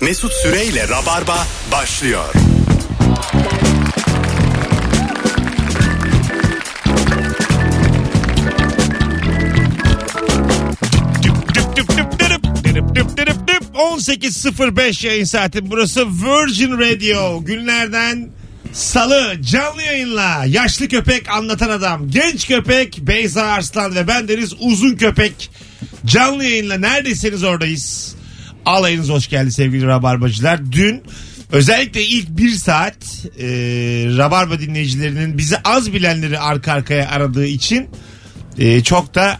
Mesut Süreyle Rabarba başlıyor. Düp düp düp düp dürüp, dürüp düp dürüp düp. 18.05 yayın saati. Burası Virgin Radio. Günlerden Salı canlı yayınla yaşlı köpek anlatan adam genç köpek Beyza Arslan ve ben deniz uzun köpek canlı yayınla neredeyseniz oradayız. Alayınız hoş geldi sevgili rabarbacılar. Dün özellikle ilk bir saat e, rabarba dinleyicilerinin bizi az bilenleri arka arkaya aradığı için e, çok da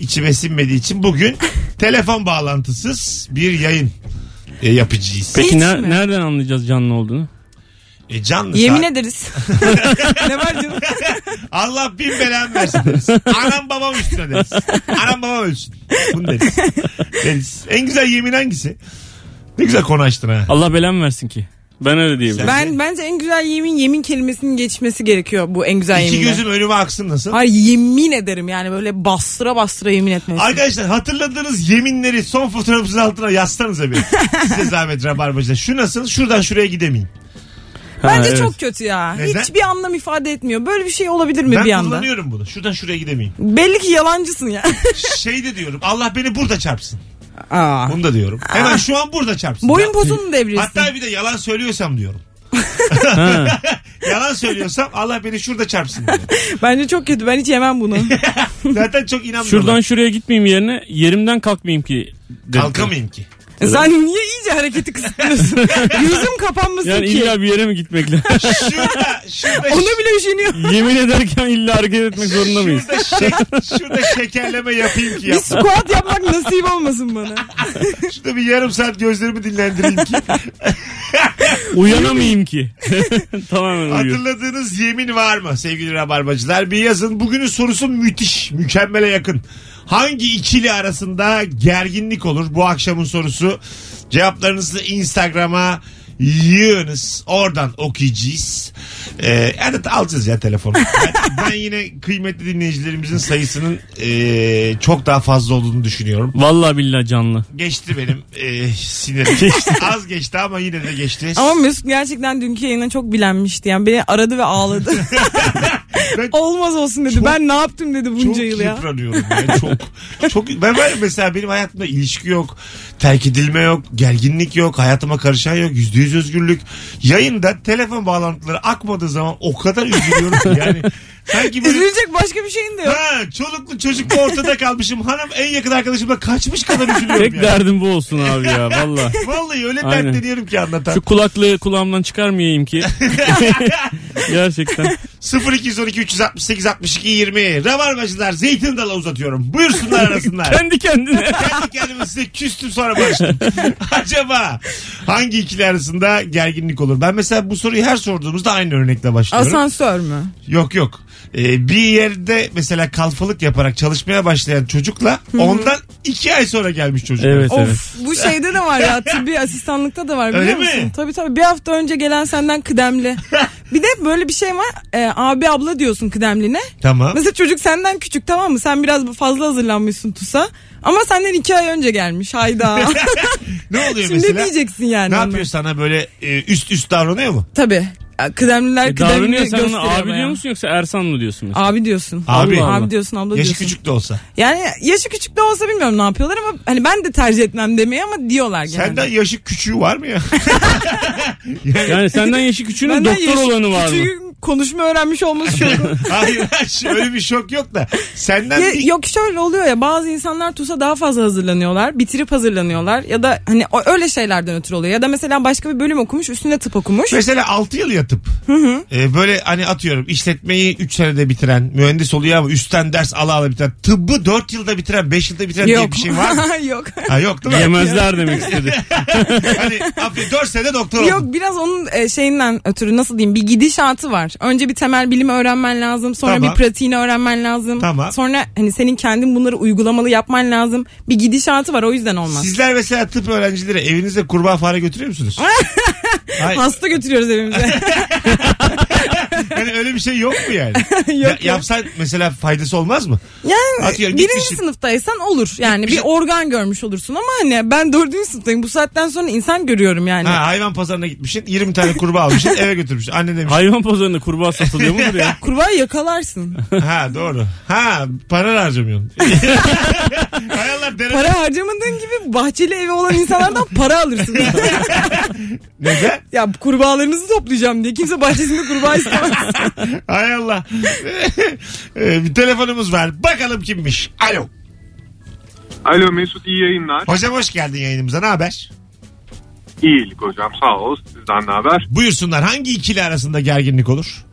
içime sinmediği için bugün telefon bağlantısız bir yayın e, yapacağız. Peki Hiç ne- mi? nereden anlayacağız canlı olduğunu? E, canlı Yemin saat- ederiz. ne var canım? Allah bin belamı versin deriz. Anam babam üstüne deriz. Anam babam ölsün. Bunu deriz. deriz. En güzel yemin hangisi? Ne güzel konu açtın ha. Allah belamı versin ki. Ben öyle diyebilirim. Ben bence en güzel yemin yemin kelimesinin geçmesi gerekiyor bu en güzel İki yeminle. gözüm önüme aksın nasıl? Hayır yemin ederim yani böyle bastıra bastıra yemin etmelisin. Arkadaşlar hatırladığınız yeminleri son fotoğrafımızın altına yazsanıza bir. Size zahmet rabarbacılar. Şu nasıl? Şuradan şuraya gidemeyim. Ha, Bence evet. çok kötü ya. Neden? Hiçbir anlam ifade etmiyor. Böyle bir şey olabilir mi E Ben bir anda? kullanıyorum bunu. Şuradan şuraya gidemeyim. Belli ki yalancısın ya. Şey de diyorum. Allah beni burada çarpsın. Aa. Bunu da diyorum. Hemen şu an burada çarpsın. Boyun posunu devrilsin. Hatta bir de yalan söylüyorsam diyorum. yalan söylüyorsam Allah beni şurada çarpsın diyorum. Bence çok kötü. Ben hiç yemem bunu. Zaten çok inanmıyorum. Şuradan şuraya gitmeyeyim yerine yerimden kalkmayayım ki. dedim. Kalkamayayım ki. E Sen niye iyice hareketi kısıtlıyorsun? Yüzüm kapanmasın Yani ki. illa bir yere mi gitmek lazım? Şurada, şurada, Ona bile üşeniyor. Yemin ederken illa hareket etmek zorunda mıyız? şurada, şek- şurada şekerleme yapayım ki Bir yapma. squat yapmak nasip olmasın bana. Şurada bir yarım saat gözlerimi dinlendireyim ki. Uyanamayayım ki. Tamamen uyuyor. Hatırladığınız yemin var mı sevgili rabarbacılar? Bir yazın. Bugünün sorusu müthiş. Mükemmele yakın. Hangi ikili arasında gerginlik olur? Bu akşamın sorusu. Cevaplarınızı Instagram'a yığınız. Oradan okuyacağız. Ee, yani alacağız ya telefonu. Ben, ben yine kıymetli dinleyicilerimizin sayısının ee, çok daha fazla olduğunu düşünüyorum. Vallahi billahi canlı. Geçti benim ee, sinirim. Az geçti ama yine de geçti. Ama Mesut gerçekten dünkü yayına çok bilenmişti. Yani beni aradı ve ağladı. Ben- Olmaz olsun dedi. Çok- ben ne yaptım dedi bunca Çok yıl ya. yıpranıyorum ben çok. çok ben, ben mesela benim hayatımda ilişki yok, terk edilme yok, gerginlik yok, hayatıma karışan yok, yüzde yüz özgürlük. Yayında telefon bağlantıları akmadığı zaman o kadar üzülüyorum ki yani. Sanki böyle Üzülecek başka bir şeyin de yok. ha, çoluklu çocuklu ortada kalmışım. Hanım en yakın arkadaşımla kaçmış kadar üzülüyorum Tek yani. derdim bu olsun abi ya valla. Vallahi öyle Aynen. dertleniyorum ki anlatan. Şu kulaklığı kulağımdan çıkarmayayım ki. Gerçekten. 0212 368 62 20. Rabarbacılar zeytin dalı uzatıyorum. Buyursunlar arasınlar. Kendi kendine. E, Kendi kendime size küstüm sonra barıştım. Acaba hangi ikili arasında gerginlik olur? Ben mesela bu soruyu her sorduğumuzda aynı örnekle başlıyorum. Asansör mü? Yok yok. Ee, bir yerde mesela kalfalık yaparak çalışmaya başlayan çocukla ondan iki ay sonra gelmiş çocuk. Evet evet. Of bu şeyde de var ya tıbbi asistanlıkta da var biliyor Öyle musun? mi? Tabii tabii bir hafta önce gelen senden kıdemli. bir de böyle bir şey var e, abi abla diyorsun kıdemline. Tamam. Mesela çocuk senden küçük tamam mı? Sen biraz fazla hazırlanmışsın TUS'a. Ama senden iki ay önce gelmiş hayda. Ne oluyor Şimdi ne mesela? diyeceksin yani? Ne ona? yapıyor sana böyle e, üst üst davranıyor mu? Tabii. Kıdemliler E, kıdemli davranıyor sen gösteriyor. ona abi bayağı. diyor musun yoksa Ersan mı diyorsun? mesela? Abi diyorsun. Abi. Abi, Allah Allah. diyorsun abla Yaşı diyorsun. küçük de olsa. Yani yaşı küçük de olsa bilmiyorum ne yapıyorlar ama hani ben de tercih etmem demeyi ama diyorlar genelde. Senden yaşı küçüğü var mı ya? Yani senden yaşı küçüğünün Benden doktor yaşı olanı var mı? küçüğün konuşma öğrenmiş olması çok. Hayır öyle bir şok yok da. Senden Ya- bir- Yok şöyle oluyor ya bazı insanlar TUS'a daha fazla hazırlanıyorlar. Bitirip hazırlanıyorlar. Ya da hani o- öyle şeylerden ötürü oluyor. Ya da mesela başka bir bölüm okumuş üstüne tıp okumuş. Mesela 6 yıl yatıp e, böyle hani atıyorum işletmeyi 3 senede bitiren mühendis oluyor ama üstten ders ala ala bitiren tıbbı 4 yılda bitiren 5 yılda bitiren diye Yok. bir şey var mı? Yok. Ha yok değil mi? Yemezler demek istedi. hani 4 senede doktor Yok oldun. biraz onun e, şeyinden ötürü nasıl diyeyim bir gidişatı var. Önce bir temel bilimi öğrenmen lazım. Sonra Tamam. bir pratiğini öğrenmen lazım. Tamam. Sonra hani senin kendin bunları uygulamalı yapman lazım. Bir gidişatı var o yüzden olmaz. Sizler mesela tıp öğrencileri evinizde kurbağa fare götürüyor musunuz? Hayır. Hasta götürüyoruz evimize. Yani öyle bir şey yok mu yani? Yok, Ya- yok. yapsan mesela faydası olmaz mı? Yani Atıyorum birinci gitmişsin. sınıftaysan olur. Yani bir Gitmişsin. organ görmüş olursun ama hani ben dördüncü sınıftayım. Bu saatten sonra insan görüyorum yani. Ha, hayvan pazarına gitmişsin 20 tane kurbağa almışsın eve götürmüşsün. Annen demiş Hayvan pazarında kurbağa satılıyor mudur ya? Kurbağayı yakalarsın. ha doğru. Ha para harcamıyorsun. Hay Allah dere- Para harcamadığın gibi bahçeli evi olan insanlardan para alırsın. Neden? ya kurbağalarınızı toplayacağım diye. Kimse bahçesinde kurbağa istemez. Hay Allah. Ee, bir telefonumuz var. Bakalım kimmiş. Alo. Alo Mesut iyi yayınlar. Hocam hoş geldin yayınımıza. Ne haber? İyilik hocam sağ ol. Sizden ne haber? Buyursunlar. Hangi ikili arasında gerginlik olur?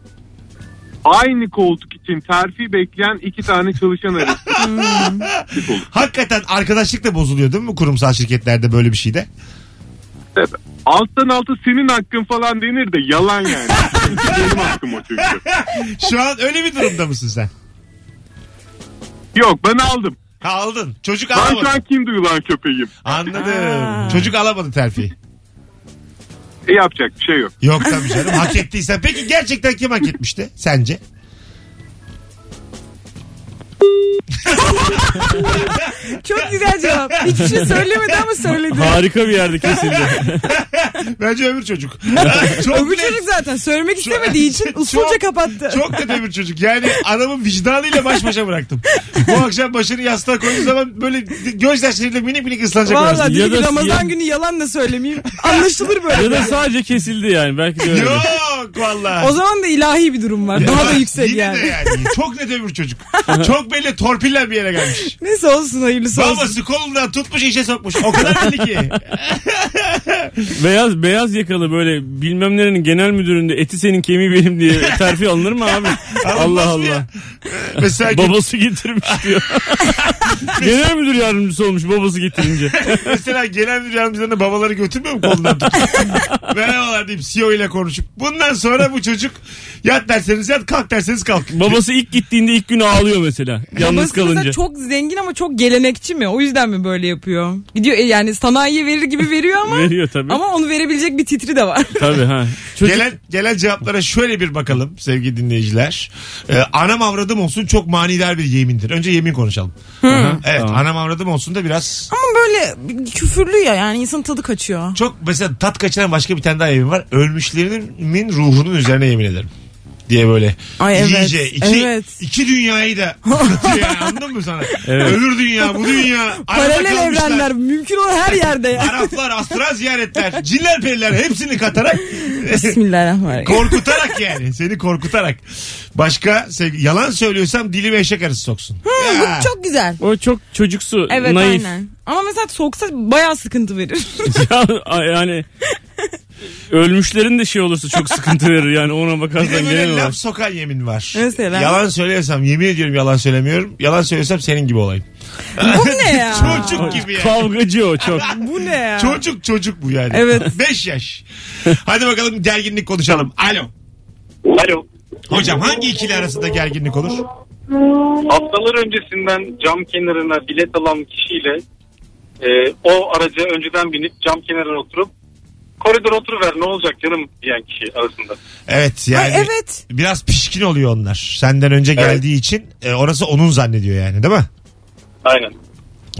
Aynı koltuk için terfi bekleyen iki tane çalışan arasında. Hakikaten arkadaşlık da bozuluyor değil mi kurumsal şirketlerde böyle bir şeyde? Alttan alta senin hakkın falan denir de yalan yani. Benim hakkım o çünkü. Şu an öyle bir durumda mısın sen? Yok ben aldım. Ha aldın. Çocuk Ben şu an alamadı. kim duyulan köpeğim? Anladım. Aa. Çocuk alamadı terfiyi. E yapacak bir şey yok. Yok tabii canım. Hak ettiysen. Peki gerçekten kim hak etmişti sence? Çok güzel cevap. Hiçbir şey söylemedi ama söyledi. Harika bir yerde kesildi. Bence öbür çocuk. çok Öbür net. çocuk zaten söylemek istemediği için usulca Çok- kapattı. Çok kötü öbür çocuk. Yani adamın vicdanıyla baş başa bıraktım. Bu akşam başını yastığa koyduğu zaman böyle gözyaşlarıyla minik minik ıslanacak. orası. Valla dedi Ya ki da- Ramazan ya- günü yalan da söylemeyeyim. Anlaşılır ya böyle. da sadece kesildi yani. Belki de öyle. Yok valla. O zaman da ilahi bir durum var. Daha da yüksek Yine yani. de yani. Çok net öbür çocuk. Çok belli torpiller bir yere gelmiş. Neyse olsun hayırlısı olsun. Babası kolundan tutmuş işe sokmuş. O kadar belli ki. Beyaz beyaz yakalı böyle bilmem nerenin genel müdüründe eti senin kemiği benim diye terfi alınır mı abi? Allah Alınmaz mı ya? Ee, Allah. Mesela Babası getirmiş diyor. genel müdür yardımcısı olmuş babası getirince. Mesela genel müdür yardımcılarına babaları götürmüyor mu kolundan tutup? Merhabalar deyip CEO ile konuşup. Bundan sonra bu çocuk yat derseniz yat kalk derseniz kalk. Babası ilk gittiğinde ilk gün ağlıyor mesela. Yalnız Babası da kalınca. çok zengin ama çok gelenekçi mi? O yüzden mi böyle yapıyor? Gidiyor e, yani sanayiye verir gibi veriyor ama Veriyor tabii. ama onu verebilecek bir titri de var. Tabii ha. Çocuk Gelen, gelen cevaplara şöyle bir bakalım sevgili dinleyiciler. Ee, anam avradım olsun çok manidar bir yemindir. Önce yemin konuşalım. Aha, Evet tamam. anam avradım olsun da biraz ama böyle küfürlü ya yani insanın tadı kaçıyor. çok mesela tat kaçıran başka bir tane daha yemin var. Ölmüşlerimin ruhunun üzerine yemin ederim diye böyle Ay evet, iyice iki, evet. iki dünyayı da anlatıyor yani, anladın mı sana? Evet. Öbür dünya bu dünya. arada Paralel kalmışlar. evrenler mümkün olan her yerde ya. Araplar, astral ziyaretler, cinler periler hepsini katarak Bismillahirrahmanirrahim. Korkutarak yani. Seni korkutarak. Başka sevgi- yalan söylüyorsam dilime eşek arısı soksun. Ya. Bu çok güzel. o çok çocuksu, Evet naif. aynen. Ama mesela soksa bayağı sıkıntı verir. Ya, yani ölmüşlerin de şey olursa çok sıkıntı verir yani ona Bir de bakarsan genel böyle laf olarak. sokan yemin var. Mesela? Yalan söylüyorsam yemin ediyorum yalan söylemiyorum. Yalan söylüyorsam senin gibi olayım. Bu ne ya? Çocuk gibi yani. Kavgacı o çok. Bu ne ya? Çocuk çocuk bu yani. Evet. 5 yaş. Hadi bakalım gerginlik konuşalım. Alo. Alo. Hocam hangi ikili arasında gerginlik olur? Haftalar öncesinden cam kenarına bilet alan kişiyle e, o araca önceden binip cam kenarına oturup koridor oturuver ne olacak canım diyen kişi arasında. Evet yani. Ay, evet. Biraz pişkin oluyor onlar. Senden önce geldiği için e, orası onun zannediyor yani değil mi? Aynen.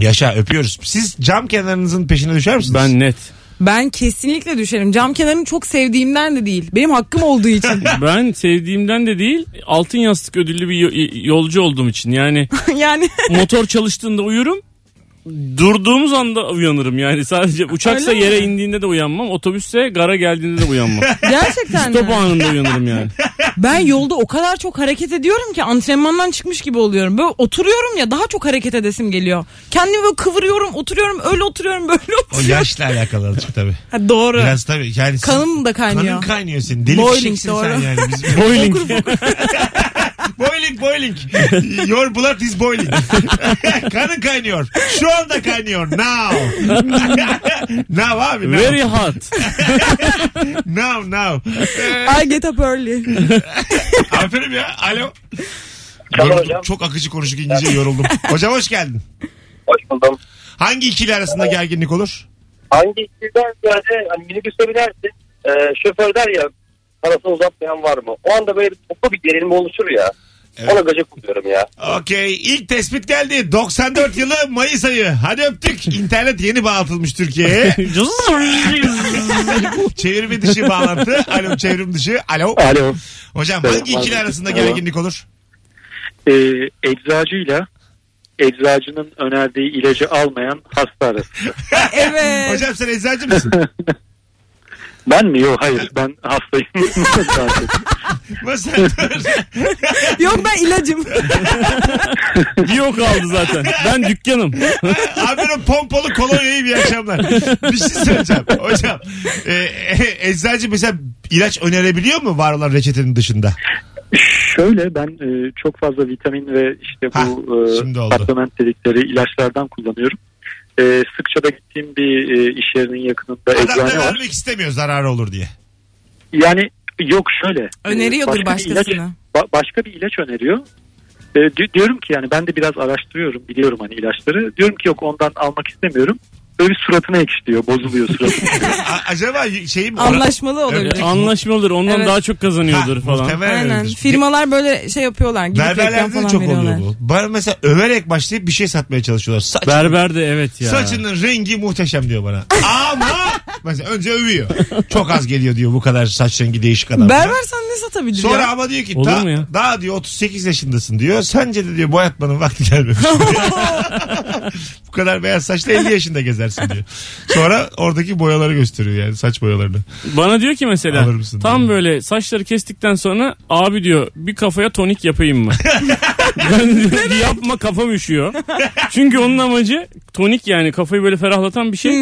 Yaşa öpüyoruz. Siz cam kenarınızın peşine düşer misiniz? Ben net. Ben kesinlikle düşerim. Cam kenarını çok sevdiğimden de değil. Benim hakkım olduğu için. Ben sevdiğimden de değil altın yastık ödüllü bir yo- yolcu olduğum için yani yani motor çalıştığında uyurum durduğumuz anda uyanırım yani sadece uçaksa Öyle mi? yere indiğinde de uyanmam otobüsse gara geldiğinde de uyanmam gerçekten top mi? anında uyanırım yani Ben yolda o kadar çok hareket ediyorum ki antrenmandan çıkmış gibi oluyorum. Böyle oturuyorum ya daha çok hareket edesim geliyor. Kendimi böyle kıvırıyorum, oturuyorum, öyle oturuyorum, böyle O oturuyorum. yaşla alakalı azıcık tabii. Ha, doğru. Biraz tabii. Yani sen- Kanım da kanın kaynıyor. kaynıyor senin. Deli Boiling, fişeksin sen doğru. yani. Biz, bowling boiling boiling. Your blood is boiling. kanın kaynıyor. Şu anda kaynıyor. Now. now abi. Now. very hot now now. I get up early. Aferin ya. Alo. Tamam Yoruldum. hocam. Çok akıcı konuştuk İngilizce yoruldum. Hocam hoş geldin. Hoş buldum. Hangi ikili arasında gerginlik olur? Hangi ikilden ziyade hani minibüse binersin e, şoför der ya parasını uzatmayan var mı? O anda böyle bir toplu bir gerilme oluşur ya. Evet. Ona gıcık oluyorum ya. Okey. İlk tespit geldi. 94 yılı Mayıs ayı. Hadi öptük. İnternet yeni bağlatılmış Türkiye'ye. Çevirme dışı bağlantı. Alo çevrim dışı. Alo. Alo. Hocam Selam hangi ikili abi. arasında Merhaba. gerginlik olur? Ee, eczacıyla eczacının önerdiği ilacı almayan hasta arasında. Evet. Hocam sen eczacı mısın? Ben mi? Yok hayır ben hastayım. Nasıl? Dur. Yok ben ilacım. Bir o kaldı zaten. Ben dükkanım. Abinin pompalı kolonyayı bir akşamlar. Bir şey söyleyeceğim. Hocam e, e, eczacı mesela ilaç önerebiliyor mu var olan reçetenin dışında? Şöyle ben e, çok fazla vitamin ve işte bu Hah, e, şimdi oldu. supplement dedikleri ilaçlardan kullanıyorum. E, sıkça da gittiğim bir e, iş yerinin yakınında Adam eczane da var. vermek istemiyor zararı olur diye. Yani yok şöyle. e, Öneriyordur başka bir başkasına. ilaç- ba- başka bir ilaç öneriyor. E, di- diyorum ki yani ben de biraz araştırıyorum biliyorum hani ilaçları. Diyorum ki yok ondan almak istemiyorum. Böyle bir suratına ekşitiyor bozuluyor suratı. A- acaba şey mi? Anlaşmalı olabilir. Öptük. Anlaşma olur. Ondan Evet. daha çok kazanıyordur Ha, falan. muhtemelen Aynen. öyledir. Firmalar böyle şey yapıyorlar. Gidip reklam Berberlerde de falan çok veriyorlar. oluyor bu. Bana mesela överek başlayıp bir şey satmaya çalışıyorlar. Saç, Berber de evet ya. saçının rengi muhteşem diyor bana. Ama mesela önce övüyor. Çok az geliyor diyor bu kadar saç rengi değişik adam. Berber sen ne satabilir Sonra ya? ama diyor ki Olur daha, mu ya? daha diyor 38 yaşındasın diyor. Sence de diyor boyatmanın vakti gelmemiş. bu kadar beyaz saçla 50 yaşında gezersin diyor. Sonra oradaki boyaları gösteriyor yani saç boyalarını. Bana diyor ki mesela Alır mısın? tam Yani. böyle saçları kestikten sonra abi diyor bir kafaya tonik yapayım mı? ben diyor, yapma kafam üşüyor. Çünkü onun amacı tonik yani kafayı böyle ferahlatan bir şey.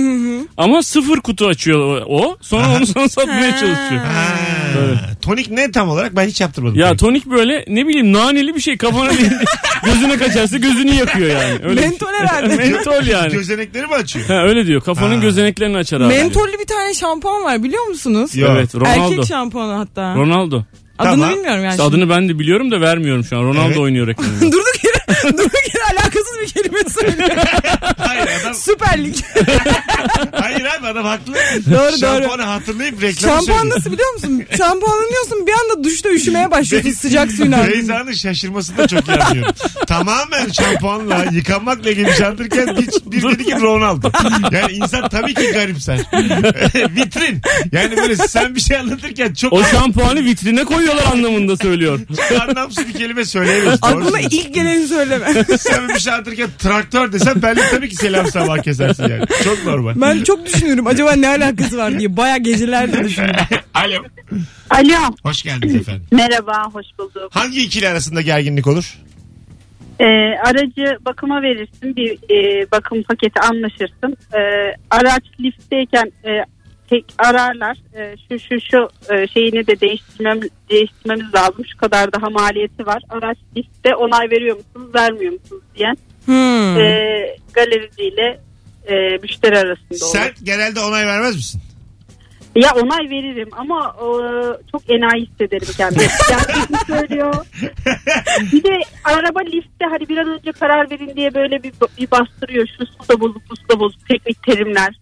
Ama sıfır kutu açıyor o- o. Sonra onu sana satmaya çalışıyor. Ha, tonik ne tam olarak ben hiç yaptırmadım. Ya tonik. tonik böyle ne bileyim naneli bir şey kafana değil. gözüne kaçarsa gözünü yakıyor yani. Öyle şey. Mentol herhalde. Mentol yani. Gözenekleri mi açıyor? Ha, öyle diyor. Kafanın Ha. gözeneklerini açar abi. diyor. Mentollü bir tane şampuan var biliyor musunuz? Yok. Evet Ronaldo. Erkek şampuanı hatta. Ronaldo. Adını Tamam. bilmiyorum yani. İşte adını ben de biliyorum da vermiyorum şu an. Ronaldo Evet. oynuyor reklamında. şimdi. durduk yere, durduk yere alakasız bir kelime söylüyor. Hayır adam, Süper Lig. hayır abi adam haklı. doğru. Şampuanı hatırlayıp reklamı Şampuan söylüyor. nasıl biliyor musun? Şampuanlanıyorsun bir anda duşta üşümeye başlıyorsun sıcak suyun ardından. Beyza'nın şaşırmasını da çok iyi anlıyorum. Tamamen şampuanla yıkanmakla gelişendirken bir, bir dedi ki Ronaldo. Yani insan tabii ki garipser. Vitrin. Yani böyle sen bir şey anlatırken çok O şampuanı vitrine koyuyorlar anlamında söylüyor. E, anlamsız bir kelime söyleyemiyorsun. Doğru Aklına söylüyorsun. ilk geleni söyleme. Sen bir şey anlatırken traktör desem ben de tabii ki selam sabah kesersin yani. Çok normal. Ben çok düşünüyorum acaba ne alakası var diye. Baya gecelerde düşünüyorum. Alo. Alo. Hoş geldiniz efendim. Merhaba, hoş bulduk. Hangi ikili arasında gerginlik olur? Ee, aracı bakıma verirsin, bir e, bakım paketi anlaşırsın. Ee, araç liftteyken e, tek ararlar. Ee, şu şu şu e, şeyini de değiştirmem, değiştirmemiz lazım. Şu kadar daha maliyeti var. Araç liftte onay veriyor musunuz, vermiyor musunuz diyen Hmm. e, galericiyle e, müşteri arasında olur. Sen genelde onay vermez misin? Ya onay veririm ama e, çok enayi hissederim kendimi. Gerçekten söylüyor. Bir de araba lifte hani bir an önce karar verin diye böyle bir, bir bastırıyor. Şu su da bozuk, bu su da bozuk teknik terimler.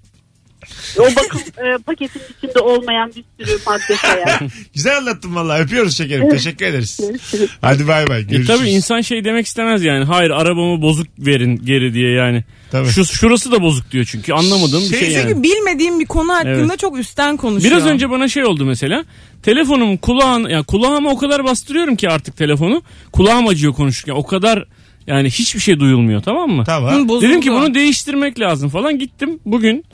O bakım e, paketin içinde olmayan bir sürü madde sayar. Güzel anlattın vallahi. Öpüyoruz şekerim. Teşekkür ederiz. Hadi bay bay. E Görüşürüz. tabii insan şey demek istemez yani. Hayır arabamı bozuk verin geri diye yani. Tabii. Şu şurası da bozuk diyor çünkü anlamadığım bir Şey, şey yani. Çünkü bilmediğim bir konu hakkında Evet. çok üstten konuşuyor. Biraz önce bana şey oldu mesela. Telefonum kulağın ya kulağıma o kadar bastırıyorum ki artık telefonu. Kulağım acıyor konuşurken. O kadar yani hiçbir şey duyulmuyor tamam mı? Tamam. Hı, bozuldu. Dedim ki bunu değiştirmek lazım falan gittim bugün.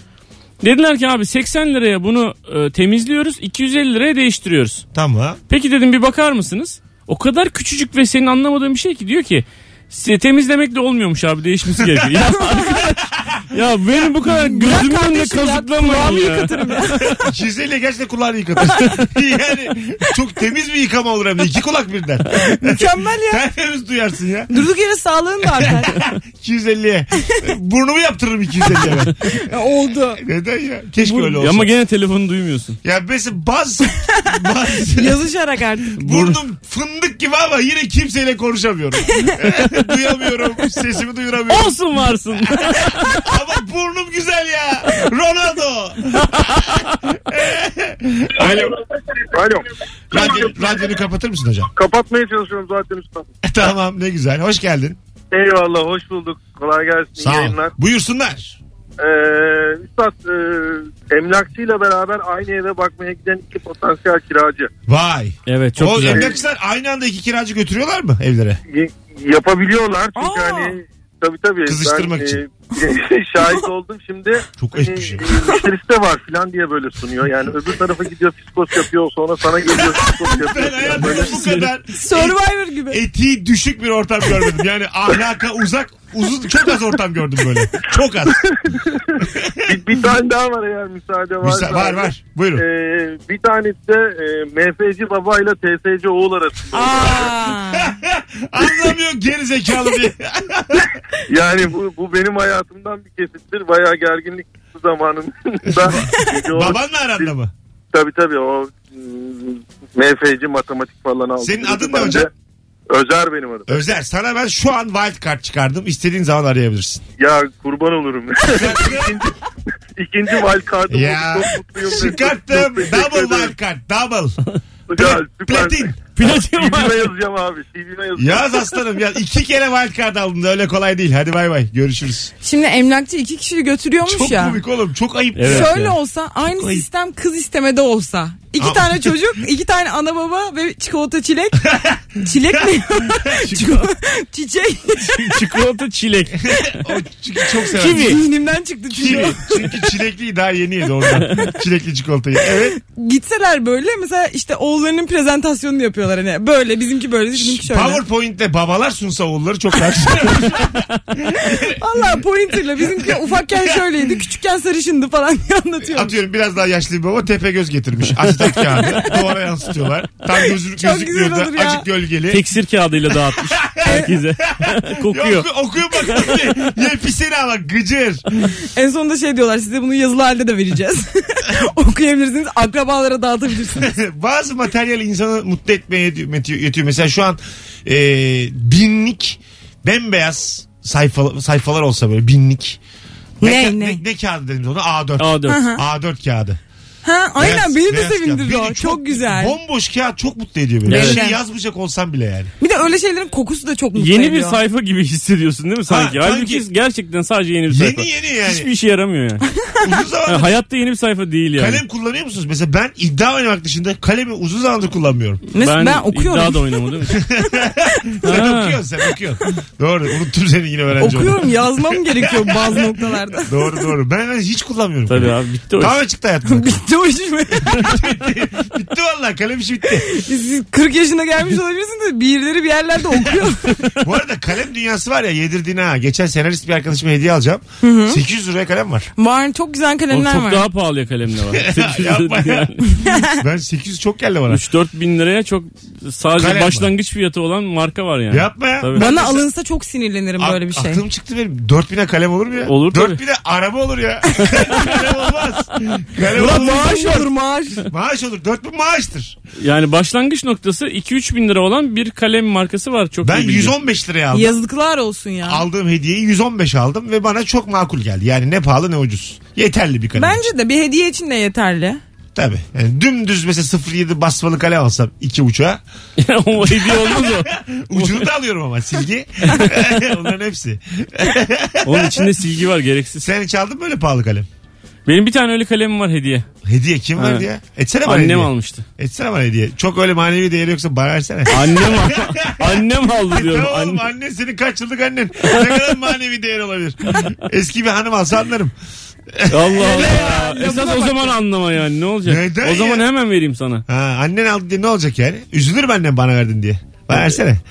Dediler ki abi 80 liraya bunu e, temizliyoruz 250 liraya değiştiriyoruz. Tamam. Peki dedim bir bakar mısınız? O kadar küçücük ve senin anlamadığın bir şey ki diyor ki size temizlemekle olmuyormuş abi değişmesi gerekiyor. ya, arkadaş, ya beni bu kadar gözümün önünde kardeşim ya, kazıklamayın kulağımı ya. yıkatırım ya. 250 gerçekten kulağını yıkatırsın. yani çok temiz bir yıkama olur hem de. İki kulak birden. Mükemmel ya. Tertemiz duyarsın ya. Durduk yere sağlığın da artar. 250'ye. Burnumu yaptırırım 250'ye ben. Ya Oldu. Neden ya? Keşke Bu- öyle olsa. Ama gene telefonu duymuyorsun. Ya mesela bazı, bazı Yazışarak artık. burnum fındık gibi ama yine kimseyle konuşamıyorum. Duyamıyorum. Sesimi duyuramıyorum. Olsun varsın. Ama burnum güzel ya. Ronaldo. Alo. Alo. Radyo, radyonu kapatır mısın hocam? E, Kapatmaya çalışıyorum zaten usta. tamam ne güzel. Hoş geldin. Eyvallah hoş bulduk. Kolay gelsin. iyi Sağ ol. yayınlar. Buyursunlar. Ee, Üstad e, emlakçıyla beraber aynı eve bakmaya giden iki potansiyel kiracı. Vay. Evet çok o e, güzel. emlakçılar aynı anda iki kiracı götürüyorlar mı evlere? Y- yapabiliyorlar çünkü Aa. hani tabii tabii. Kızıştırmak ben, için. e, şahit oldum şimdi. Çok eş bir şey. e, Müşterisi de var filan diye böyle sunuyor. Yani öbür tarafa gidiyor fiskos yapıyor sonra sana geliyor fiskos yapıyor. Ben hayatımda bu kadar Survivor gibi. etiği düşük bir ortam görmedim. Yani ahlaka uzak uzun çok az ortam gördüm böyle. Çok az. bir, bir tane daha var eğer müsaade varsa. Müsa- var var. Buyurun. Ee, bir tanesi de e, MFC baba ile TSC oğul arasında. Aa. Anlamıyor geri zekalı diye. Yani bu, bu benim hayatımdan bir kesittir. Bayağı gerginlik zamanında. Çünkü o- Babanla aranda mı? Tabii tabii o mm, MFC matematik falan aldı. Senin adın ne Bence- hocam? Özer benim adım. Özer sana ben şu an wild card çıkardım. İstediğin zaman arayabilirsin. Ya kurban olurum. İkinci wild card'ım ya oldu. Çok mutluyum. çıkarttım. Çok teşekkür Double ederim. wild card. Double. Güzel, süper. Platin. Platin CV'me var. yazacağım abi. CV'me yazacağım. Yaz aslanım yaz. İki kere wild card aldım da öyle kolay değil. Hadi bay bay. Görüşürüz. Şimdi emlakçı iki kişiyi götürüyormuş Çok ya. komik oğlum. Çok ayıp. Evet. Şöyle ya. olsa aynı Çok ayıp. sistem kız istemede olsa. İki Ama- tane çocuk, iki tane ana baba ve çikolata çilek. çilek mi? Çiçek. Çikolata çilek. O çünkü çok sever. Zihnimden çıktı Kivi. çilek. Çünkü çilekliyi daha yeni yedi oradan. Çilekli çikolatayı. Evet. Gitseler böyle mesela işte oğullarının prezentasyonunu yapıyorlar hani. Böyle bizimki böyle bizimki şöyle. PowerPoint'te babalar sunsa oğulları çok daha Valla pointerla bizimki ufakken şöyleydi küçükken sarışındı falan diye anlatıyorum. Atıyorum biraz daha yaşlı bir baba tepe göz getirmiş. Acetat kağıdı. Duvara yansıtıyorlar. Tam gözlük Çok gözükmüyor güzel olur da ya. acık gölgeli. Teksir kağıdıyla dağıtmış herkese. Ya Kokuyor. oku, okuyor bak. Yelpiseni ama gıcır. En sonunda şey diyorlar size bunu yazılı halde de vereceğiz. Okuyabilirsiniz akrabalara dağıtabilirsiniz. Bazı materyal insanı mutlu etmeye yetiyor- yetiyor. yetiyor. Mesela şu an e, binlik bembeyaz sayfa, sayfalar olsa böyle binlik. Ne, ka- ne? ne kağıdı dediğimiz ona? A4. A4. A4 kağıdı. Ha, aynen Beyaz- beni de beyaz sevindirdi kağıt. o. Beni Çok, güzel. Bomboş kağıt çok mutlu ediyor beni. Bir Evet. şey yazmayacak olsam bile yani. Bir de öyle şeylerin kokusu da çok mutlu Yeni ediyor. bir sayfa gibi hissediyorsun değil mi sanki? Ha, Halbuki sanki- gerçekten sadece yeni bir sayfa. Yeni yeni yani. Hiçbir işe yaramıyor yani. Uzun zamandır Yani hayatta yeni bir sayfa değil yani. kalem kullanıyor musunuz? Mesela ben iddia oynamak dışında kalemi uzun zamandır kullanmıyorum. Mesela ben, iddia da okuyorum. oynamadım. Sen Ha. okuyorsun sen okuyorsun. doğru unuttum seni yine öğrenci olarak. Okuyorum yazmam gerekiyor bazı noktalarda. Doğru doğru. Ben, ben hiç kullanmıyorum. Tabii kalemi. abi bitti o iş. Tamamen çıktı hayatımda. Bitti o iş mi? bitti valla kalem işi bitti. Siz 40 yaşına gelmiş olabilirsiniz de birileri bir yerlerde okuyor. Bu arada kalem dünyası var ya yedirdiğine ha. Geçen senarist bir arkadaşıma hediye alacağım. 800 liraya kalem var. var çok güzel Oğlum kalemler çok var. daha pahalıya kalemle var. Yapma ya. yani. Ben 800 çok geldi bana. 3-4 bin liraya çok sadece Kalem var. başlangıç fiyatı olan marka var yani. Yapma ya. Tabii. Bana alınsa çok sinirlenirim böyle bir şey. Aklım çıktı benim. 4000'e kalem olur mu ya? Olur tabii. 4000'e araba olur ya. kalem olmaz. Kalem Ulan olmaz. maaş olur maaş. Maaş olur. 4000 maaştır. Yani başlangıç noktası 2-3 bin lira olan bir kalem markası var. Çok Ben iyi bilgi. 115 liraya aldım. Yazıklar olsun ya. Aldığım hediyeyi 115 aldım ve bana çok makul geldi. Yani ne pahalı ne ucuz. Yeterli bir kalem. Bence de bir hediye için de yeterli. Tabii. Yani dümdüz mesela 07 basmalı kalem alsam 2 uçağa. o hediye olmaz o. Ucunu da alıyorum ama silgi. Onların hepsi. Onun içinde silgi var gereksiz. Sen hiç aldın mı böyle pahalı kalem? Benim bir tane öyle kalemim var hediye. Hediye kim Ha. verdi ya? Etsene bana hediye. Annem almıştı. Etsene bana hediye. Çok öyle manevi değeri yoksa bana versene. E, Annem al- annem aldı diyorum. Tamam oğlum Anne- annen senin kaç yıllık annen. Ne kadar manevi değer olabilir. Eski bir hanım alsa anlarım. Allah Allah. Esas lafına o bak. zaman anlama yani ne olacak? Neden o zaman ya? hemen vereyim sana. Ha, annen aldı diye ne olacak yani? Üzülür mü annen bana verdin diye? Bana versene.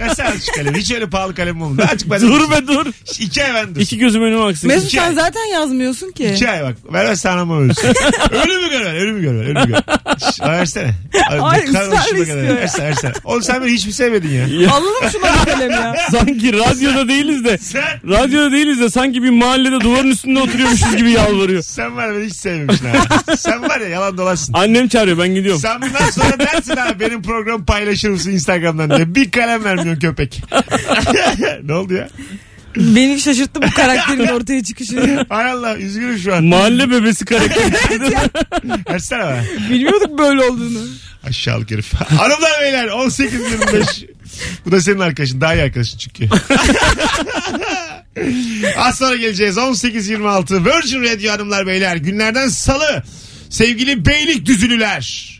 versene azıcık kalem. Hiç öyle pahalı kalem olmadı. Azıcık ben Dur be dur. İki ay ben dur. İki gözüm önüme aksın. Mesut İki ay. sen zaten yazmıyorsun ki. İki ay bak. Vermezse anamı ölürsün. ölümü gör ver. Ölümü gör ver. Ölümü gör. Şş, bana versene. Abi, Ay, bu karın ısrarla hoşuma istiyor kadar. ya. Versene versene. Oğlum sen beni hiç mi sevmedin ya? Alalım şuna bir kalem ya. Sanki radyoda değiliz de. Sen Radyoda değiliz de sanki bir mahallede duvarın üstünde oturuyormuşuz gibi yalvarıyor. sen var ya, beni hiç sevmemişsin abi. sen var ya yalan dolaşsın. Annem çağırıyor ben gidiyorum. Sen bundan sonra dersin abi benim programı paylaşır mısın Instagram'dan diye. Bir kalem vermiyorsun köpek. ne oldu ya? Beni şaşırttı bu karakterin ortaya çıkışı. Hay Allah üzgünüm şu an. Mahalle bebesi karakteri. Versene bana. Bilmiyorduk böyle olduğunu. Aşağılık herif. Hanımlar beyler 18.25. Bu da senin arkadaşın. Daha iyi arkadaşın çünkü. Az sonra geleceğiz. 18.26 Virgin Radio hanımlar beyler. Günlerden salı. Sevgili beylik düzülüler.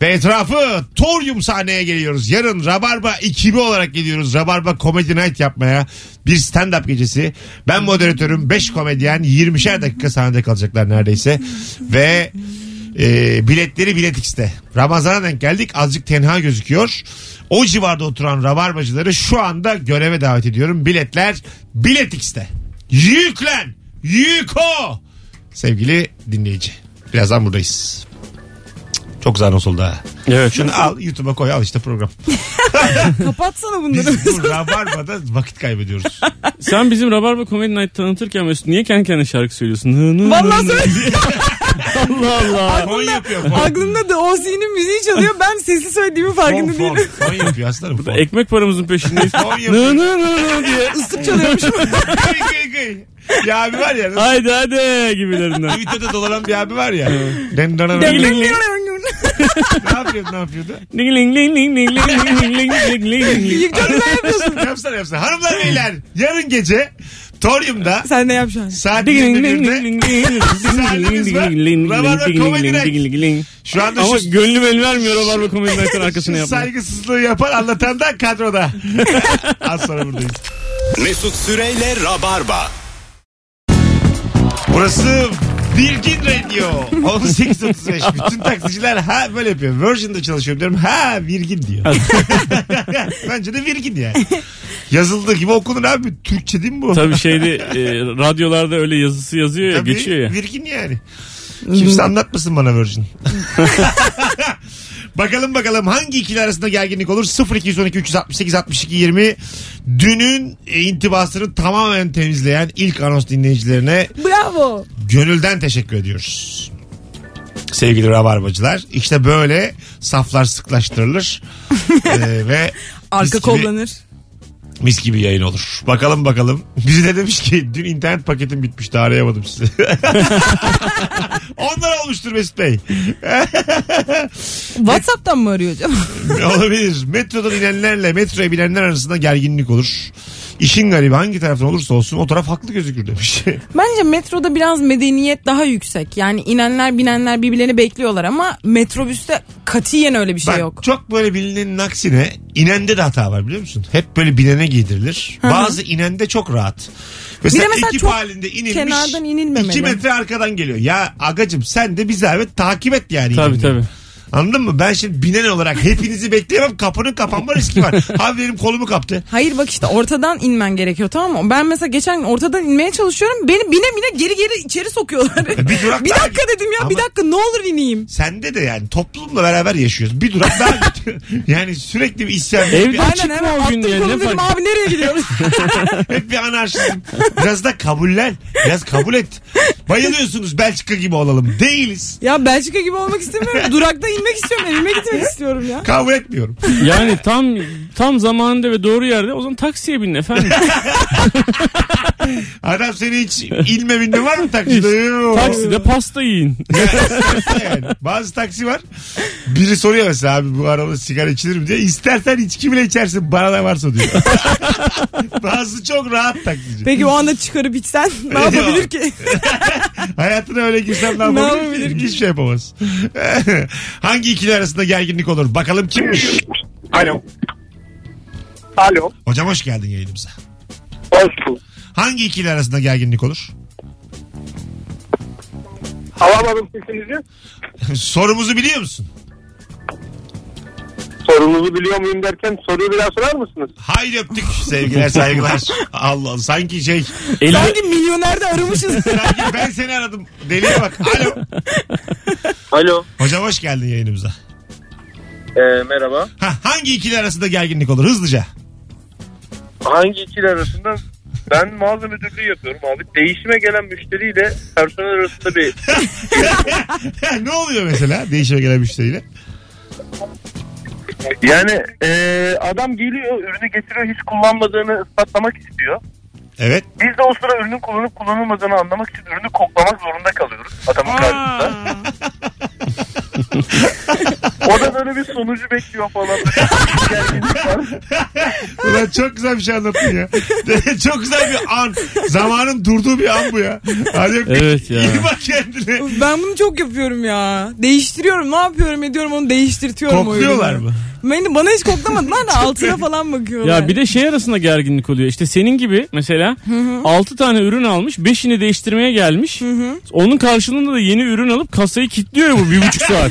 Ve etrafı Torium sahneye geliyoruz. Yarın Rabarba ekibi olarak geliyoruz. Rabarba Comedy Night yapmaya. Bir stand-up gecesi. Ben moderatörüm. 5 komedyen 20'şer dakika sahnede kalacaklar neredeyse. Ve e, biletleri Bilet X'te. Ramazan'a denk geldik. Azıcık tenha gözüküyor. O civarda oturan rabarbacıları şu anda göreve davet ediyorum. Biletler Bilet X'te. Yüklen! Yüko! Sevgili dinleyici. Birazdan buradayız. Çok güzel nasıl oldu ha. evet. Şunu al YouTube'a koy al işte program. Kapatsana bunları. Biz bu rabarbada vakit kaybediyoruz. Sen bizim Rabarba Comedy Night tanıtırken Mesut niye kendi kendine şarkı söylüyorsun? Hı, hı, hı, Vallahi hı. söyle. Allah Allah. Fon yapıyor fon. Aklımda da OZ'nin müziği çalıyor. Ben sesli söylediğimi Fon farkında fon. değilim. Fon yapıyor aslanım fon. Ekmek paramızın peşindeyiz. Fon Nı yapıyor. nı nı nı diye. Islık çalıyormuşum. Kıy kıy kıy. Ya abi var ya. Haydi haydi gibilerinden. Twitter'da dolanan bir abi var ya. Den- dana- ne Ding ling ling. yapıyordu ne yapıyordu? Ling ling ling ling ling ling ling ling ling ling ling. Canım ben yapıyorsun. Yapsana yapsana. Hanımlar beyler yarın gece Torium'da Sen ne yapacaksın? saat Ding ling ling ling 21'de ling ling. Sahnemiz var. Rabarba Ding ling Comedy ling Night. ling ling ling. şu anda Ama şu gönlüm el vermiyor Rabarba Comedy Night'ın arkasını şu yapmak. saygısızlığı yapan anlatan da kadroda. Az sonra buradayız. Mesut Süreyle Rabarba. Burası Virgin Radio. 18.35. Bütün taksiciler ha böyle yapıyor. Virgin'de çalışıyorum diyorum. Ha Virgin diyor. Bence de Virgin yani. Yazıldığı gibi okunur abi. Türkçe değil mi bu? Tabii şeyde e, radyolarda öyle yazısı yazıyor ya Tabii, geçiyor ya. Virgin yani. Kimse anlatmasın bana Virgin. bakalım bakalım hangi ikili arasında gerginlik olur? 0212 368 62 20 dünün e, intibasını tamamen temizleyen ilk anons dinleyicilerine Bravo. gönülden teşekkür ediyoruz. Sevgili rabarbacılar işte böyle saflar sıklaştırılır Ee, ve Arka mis gibi, kollanır. mis gibi yayın olur. Bakalım bakalım. Biri de demiş ki dün internet paketim bitmişti arayamadım sizi. Onlar olmuştur Mesut Bey. Whatsapp'tan mı arıyor acaba? Olabilir. Metrodan inenlerle metroya binenler arasında gerginlik olur. İşin garibi hangi taraftan olursa olsun o taraf haklı gözükür demiş. Bence metroda biraz medeniyet daha yüksek. Yani inenler binenler birbirlerini bekliyorlar ama metrobüste katiyen öyle bir şey Bak, yok. Çok böyle bilinenin aksine inende de hata var biliyor musun? Hep böyle binene giydirilir. Hı hı. Bazı inende çok rahat. Mesela, Bir de mesela ekip çok halinde inilmiş. kenardan inilmemeli. 2 metre arkadan geliyor. Ya agacım sen de bir zahmet takip et yani. Tabii inenleri. tabii. Anladın mı? Ben şimdi binen olarak hepinizi bekleyemem. Kapının kapanma riski var. Abi benim kolumu kaptı. Hayır bak işte ortadan inmen gerekiyor tamam mı? Ben mesela geçen gün ortadan inmeye çalışıyorum. Beni bine bine geri geri içeri sokuyorlar. Bir durak daha- dakika dedim ya bir Ama- dakika ne olur ineyim. Sende de yani toplumla beraber yaşıyoruz. Bir durak daha gidiyor. yani sürekli bir isyan. Evde bir- Aynen çıkma hemen o gün attım ya, kolumu ne dedim fark- abi nereye gidiyoruz? Hep bir anarşizm. Biraz da kabullen. Biraz kabul et. Bayılıyorsunuz Belçika gibi olalım. Değiliz. ya Belçika gibi olmak istemiyorum. Durakta inmek istiyorum evime gitmek istiyorum ya. Kabul etmiyorum. Yani tam tam zamanında ve doğru yerde o zaman taksiye binin efendim. Adam seni hiç ilme binde var mı takside? Yok. Takside pasta yiyin. yani. Bazı taksi var. Biri soruyor mesela abi bu arada sigara içilir mi diye. İstersen içki bile içersin bana da varsa diyor. Bazı çok rahat taksici. Peki o anda çıkarıp içsen ne yapabilir ki? Hayatına öyle girsem ne Ne yapabilir yapabilir ki? Hiçbir şey yapamaz. Hangi ikili arasında gerginlik olur? Bakalım kimmiş? Alo. Alo. Hocam hoş geldin yayınımıza. Hoş bulduk. Hangi ikili arasında gerginlik olur? Alamadım sesinizi. Sorumuzu biliyor musun? Sorunuzu biliyor muyum derken soruyu bir daha sorar mısınız? Haydi öptük sevgiler saygılar. Allah sanki şey Eli, Sanki milyonerde aramışız. sanki ben seni aradım. Deliye bak. Alo. Alo. Hocam hoş geldin yayınımıza. E, merhaba. Ha, hangi ikili arasında gerginlik olur hızlıca? Hangi ikili arasında? Ben mağaza müdürlüğü yapıyorum abi. Değişime gelen müşteriyle personel arasında bir... ne oluyor mesela değişime gelen müşteriyle? Yani e, adam geliyor, ürünü getiriyor, hiç kullanmadığını ispatlamak istiyor. Evet. Biz de o sıra ürünün kullanıp kullanılmadığını anlamak için ürünü koklamak zorunda kalıyoruz adamın karşısında. O da böyle bir sonucu bekliyor falan. Böyle bir gerginlik var. Ulan çok güzel bir şey anlattın ya. çok güzel bir an. Zamanın durduğu bir an bu ya. Hadi öptük. Evet ya. İyi bak kendine. Ben bunu çok yapıyorum ya. Değiştiriyorum. Ne yapıyorum ediyorum onu değiştirtiyorum. o Kokluyorlar ürünü. mı? Beni, bana hiç koklamadılar da altına falan bakıyorlar. Ya bir de şey arasında gerginlik oluyor. İşte senin gibi mesela 6 tane ürün almış, 5'ini değiştirmeye gelmiş. Onun karşılığında da yeni ürün alıp kasayı kilitliyor ya bu bir buçuk saat.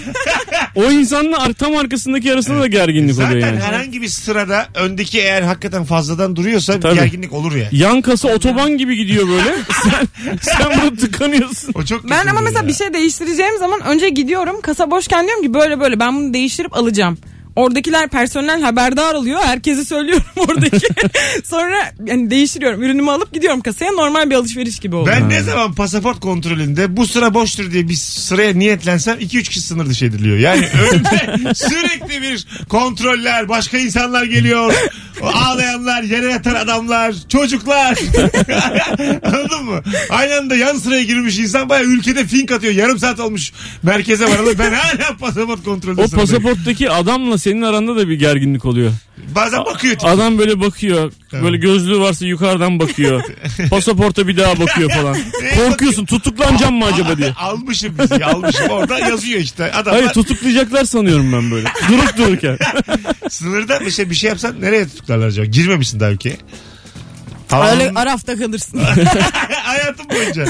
o insanla ar- tam arkasındaki arasında da gerginlik Zaten oluyor yani. herhangi bir sırada öndeki eğer hakikaten fazladan duruyorsa bir E, Tabii. gerginlik olur ya. Yan kasa otoban gibi gidiyor böyle. sen, sen bunu tıkanıyorsun. O çok Ben kötü ama oluyor mesela ya. bir şey değiştireceğim zaman önce gidiyorum. Kasa boşken diyorum ki böyle böyle ben bunu değiştirip alacağım. Oradakiler personel haberdar oluyor. Herkese söylüyorum oradaki. Sonra yani değiştiriyorum. Ürünümü alıp gidiyorum kasaya. Normal bir alışveriş gibi oluyor. Ben ne zaman pasaport kontrolünde bu sıra boştur diye bir sıraya niyetlensem 2-3 kişi sınır dışı ediliyor. Yani önde sürekli bir kontroller, başka insanlar geliyor. O Ağlayanlar, yere yatan adamlar, çocuklar. Anladın mı? Aynı anda yan sıraya girmiş insan bayağı ülkede fink atıyor. Yarım saat olmuş merkeze varalı. Ben hala pasaport kontrolünde O sınırdayım. pasaporttaki adamla senin aranda da bir gerginlik oluyor. Bazen bakıyor. tip. Adam böyle bakıyor. Evet. Böyle gözlüğü varsa yukarıdan bakıyor. Pasaporta bir daha bakıyor falan. Korkuyorsun tutuklanacağım mı acaba diye. Almışım bizi almışım orada yazıyor işte. Adamlar Hayır tutuklayacaklar sanıyorum ben böyle. Durup dururken. Sınırda bir şey, bir şey yapsan nereye tutuklarlar acaba? Girmemişsin daha ülkeye. Öyle Havaalanı- arafta kalırsın. Hayatım boyunca.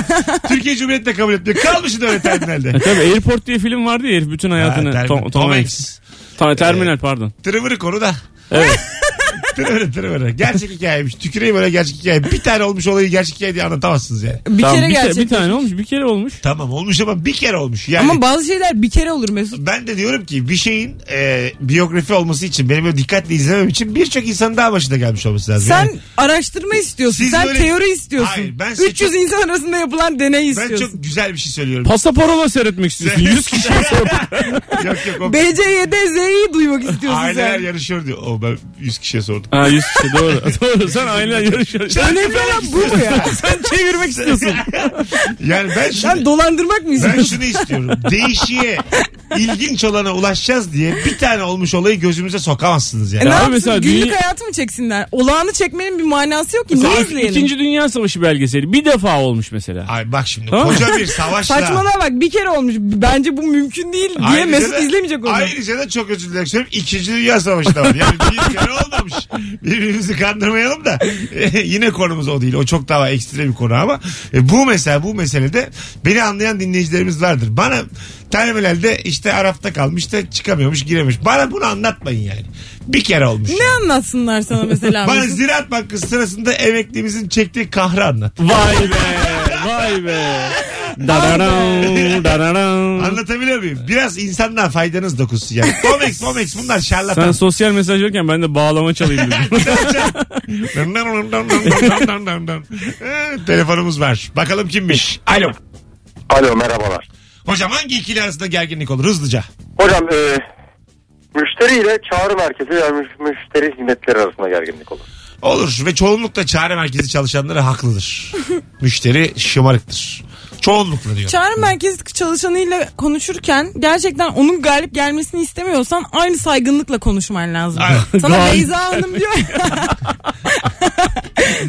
Türkiye Cumhuriyeti de kabul etmiyor. Kalmışsın öyle terminalde. E Tabii Airport diye film vardı ya herif bütün hayatını. Ha, termin- Ee, Tom, Tom Hanks. Ta- terminal pardon. Tırıvırı konuda. Evet. Tırıvırı tırıvırı. Gerçek hikayeymiş. Tüküreyim öyle gerçek hikaye. Bir tane olmuş olayı gerçek hikaye diye anlatamazsınız yani. bir Tamam, kere bir, gerçek. bir tane olmuş bir kere olmuş. Tamam olmuş ama bir kere olmuş. Yani Ama bazı şeyler bir kere olur Mesut. ben de diyorum ki bir şeyin e, biyografi olması için benim böyle dikkatle izlemem için birçok insanın daha başında gelmiş olması lazım. Sen Yani araştırma istiyorsun. Siz sen böyle- teori istiyorsun. Hayır, ben size 300 çok- insan arasında yapılan deney ben istiyorsun. çok güzel bir şey söylüyorum. Pasaporola seyretmek istiyorsun. 100 kişi. yok yok o BCYD Z'yi duymak istiyorsun aileler sen. yarışıyor diyor. O ben 100 kişiye sordum. ha 100 kişi doğru. doğru sen ailen yarışıyorsun. Önemli olan bu mu ya? sen çevirmek istiyorsun. Yani ben şunu, Sen dolandırmak mı ben istiyorsun? şunu istiyorum. Değişiye ilginç olana ulaşacağız diye bir tane olmuş olayı gözümüze sokamazsınız E ne yani. Ya yapsın? mesela Günlük dünya- hayatı mı çeksinler? Olağanı çekmenin bir manası yok ki. Mesela Niye ilk- izleyelim? İkinci Dünya Savaşı belgeseli bir defa olmuş mesela. Ay bak şimdi Tamam. koca bir savaşla. Saçmalığa bak bir kere olmuş. Bence bu mümkün değil diye Ayrıca Mesut da- izlemeyecek onu. Ayrıca da çok özür dilerim. söylüyorum. İkinci Dünya Savaşı da var. Yani bir kere olmamış. Birbirimizi kandırmayalım da. yine konumuz o değil. O çok daha ekstra bir konu ama. E, bu mesela bu meselede beni anlayan dinleyicilerimiz vardır. Bana terminalde işte Araf'ta kalmış da çıkamıyormuş girememiş. Bana bunu anlatmayın yani. Bir kere olmuş. Ne anlatsınlar sana mesela? Bana Mesut? Ziraat Bankası sırasında emeklimizin çektiği kahrı anlat. Vay be. Vay be. Dararam, dararam. Anlatabiliyor muyum? Biraz insandan faydanız dokunsun yani. Comex, Comex bunlar şarlatan. Sen sosyal mesaj yokken ben de bağlama çalayım dedim. Dın dın dın dın dın dın dın dın. Ee, Telefonumuz var. Bakalım kimmiş? Alo. Alo merhabalar. Hocam hangi ikili arasında gerginlik olur hızlıca? Hocam e, müşteriyle çağrı merkezi yani müş- müşteri hizmetleri arasında gerginlik olur. Olur ve çoğunlukla çağrı merkezi çalışanları haklıdır. Müşteri şımarıktır. Çoğunlukla diyor. Çağrı merkezi çalışanıyla konuşurken gerçekten onun galip gelmesini istemiyorsan aynı saygınlıkla konuşman lazım. Aynen. Sana Galip Beyza Hanım diyor.